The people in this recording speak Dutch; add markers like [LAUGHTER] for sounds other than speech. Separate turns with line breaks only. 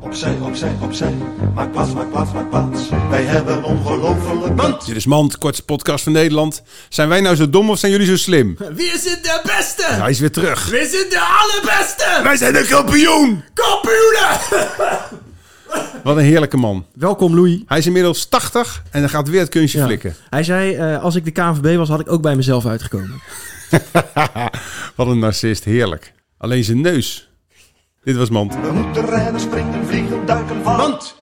Opzij, opzij, opzij. Maak plaats, maak plaats, maak plaats. Wij hebben ongelofelijk mand.
Dit is Mand, kortste podcast van Nederland. Zijn wij nou zo dom of zijn jullie zo slim?
Wie is het de beste?
[LAUGHS] Hij is weer terug.
Wie is het de allerbeste?
Wij zijn de kampioen! [LAUGHS]
Kampioenen!
Wat een heerlijke man.
Welkom Louis.
Hij is inmiddels 80 en dan gaat weer het kunstje flikken.
Hij zei, eh, als ik de KNVB was, had ik ook bij mezelf uitgekomen.
Wat een narcist, heerlijk. Alleen zijn neus. Dit was Mand.
We moeten rennen, springen, vliegen, duiken van mand.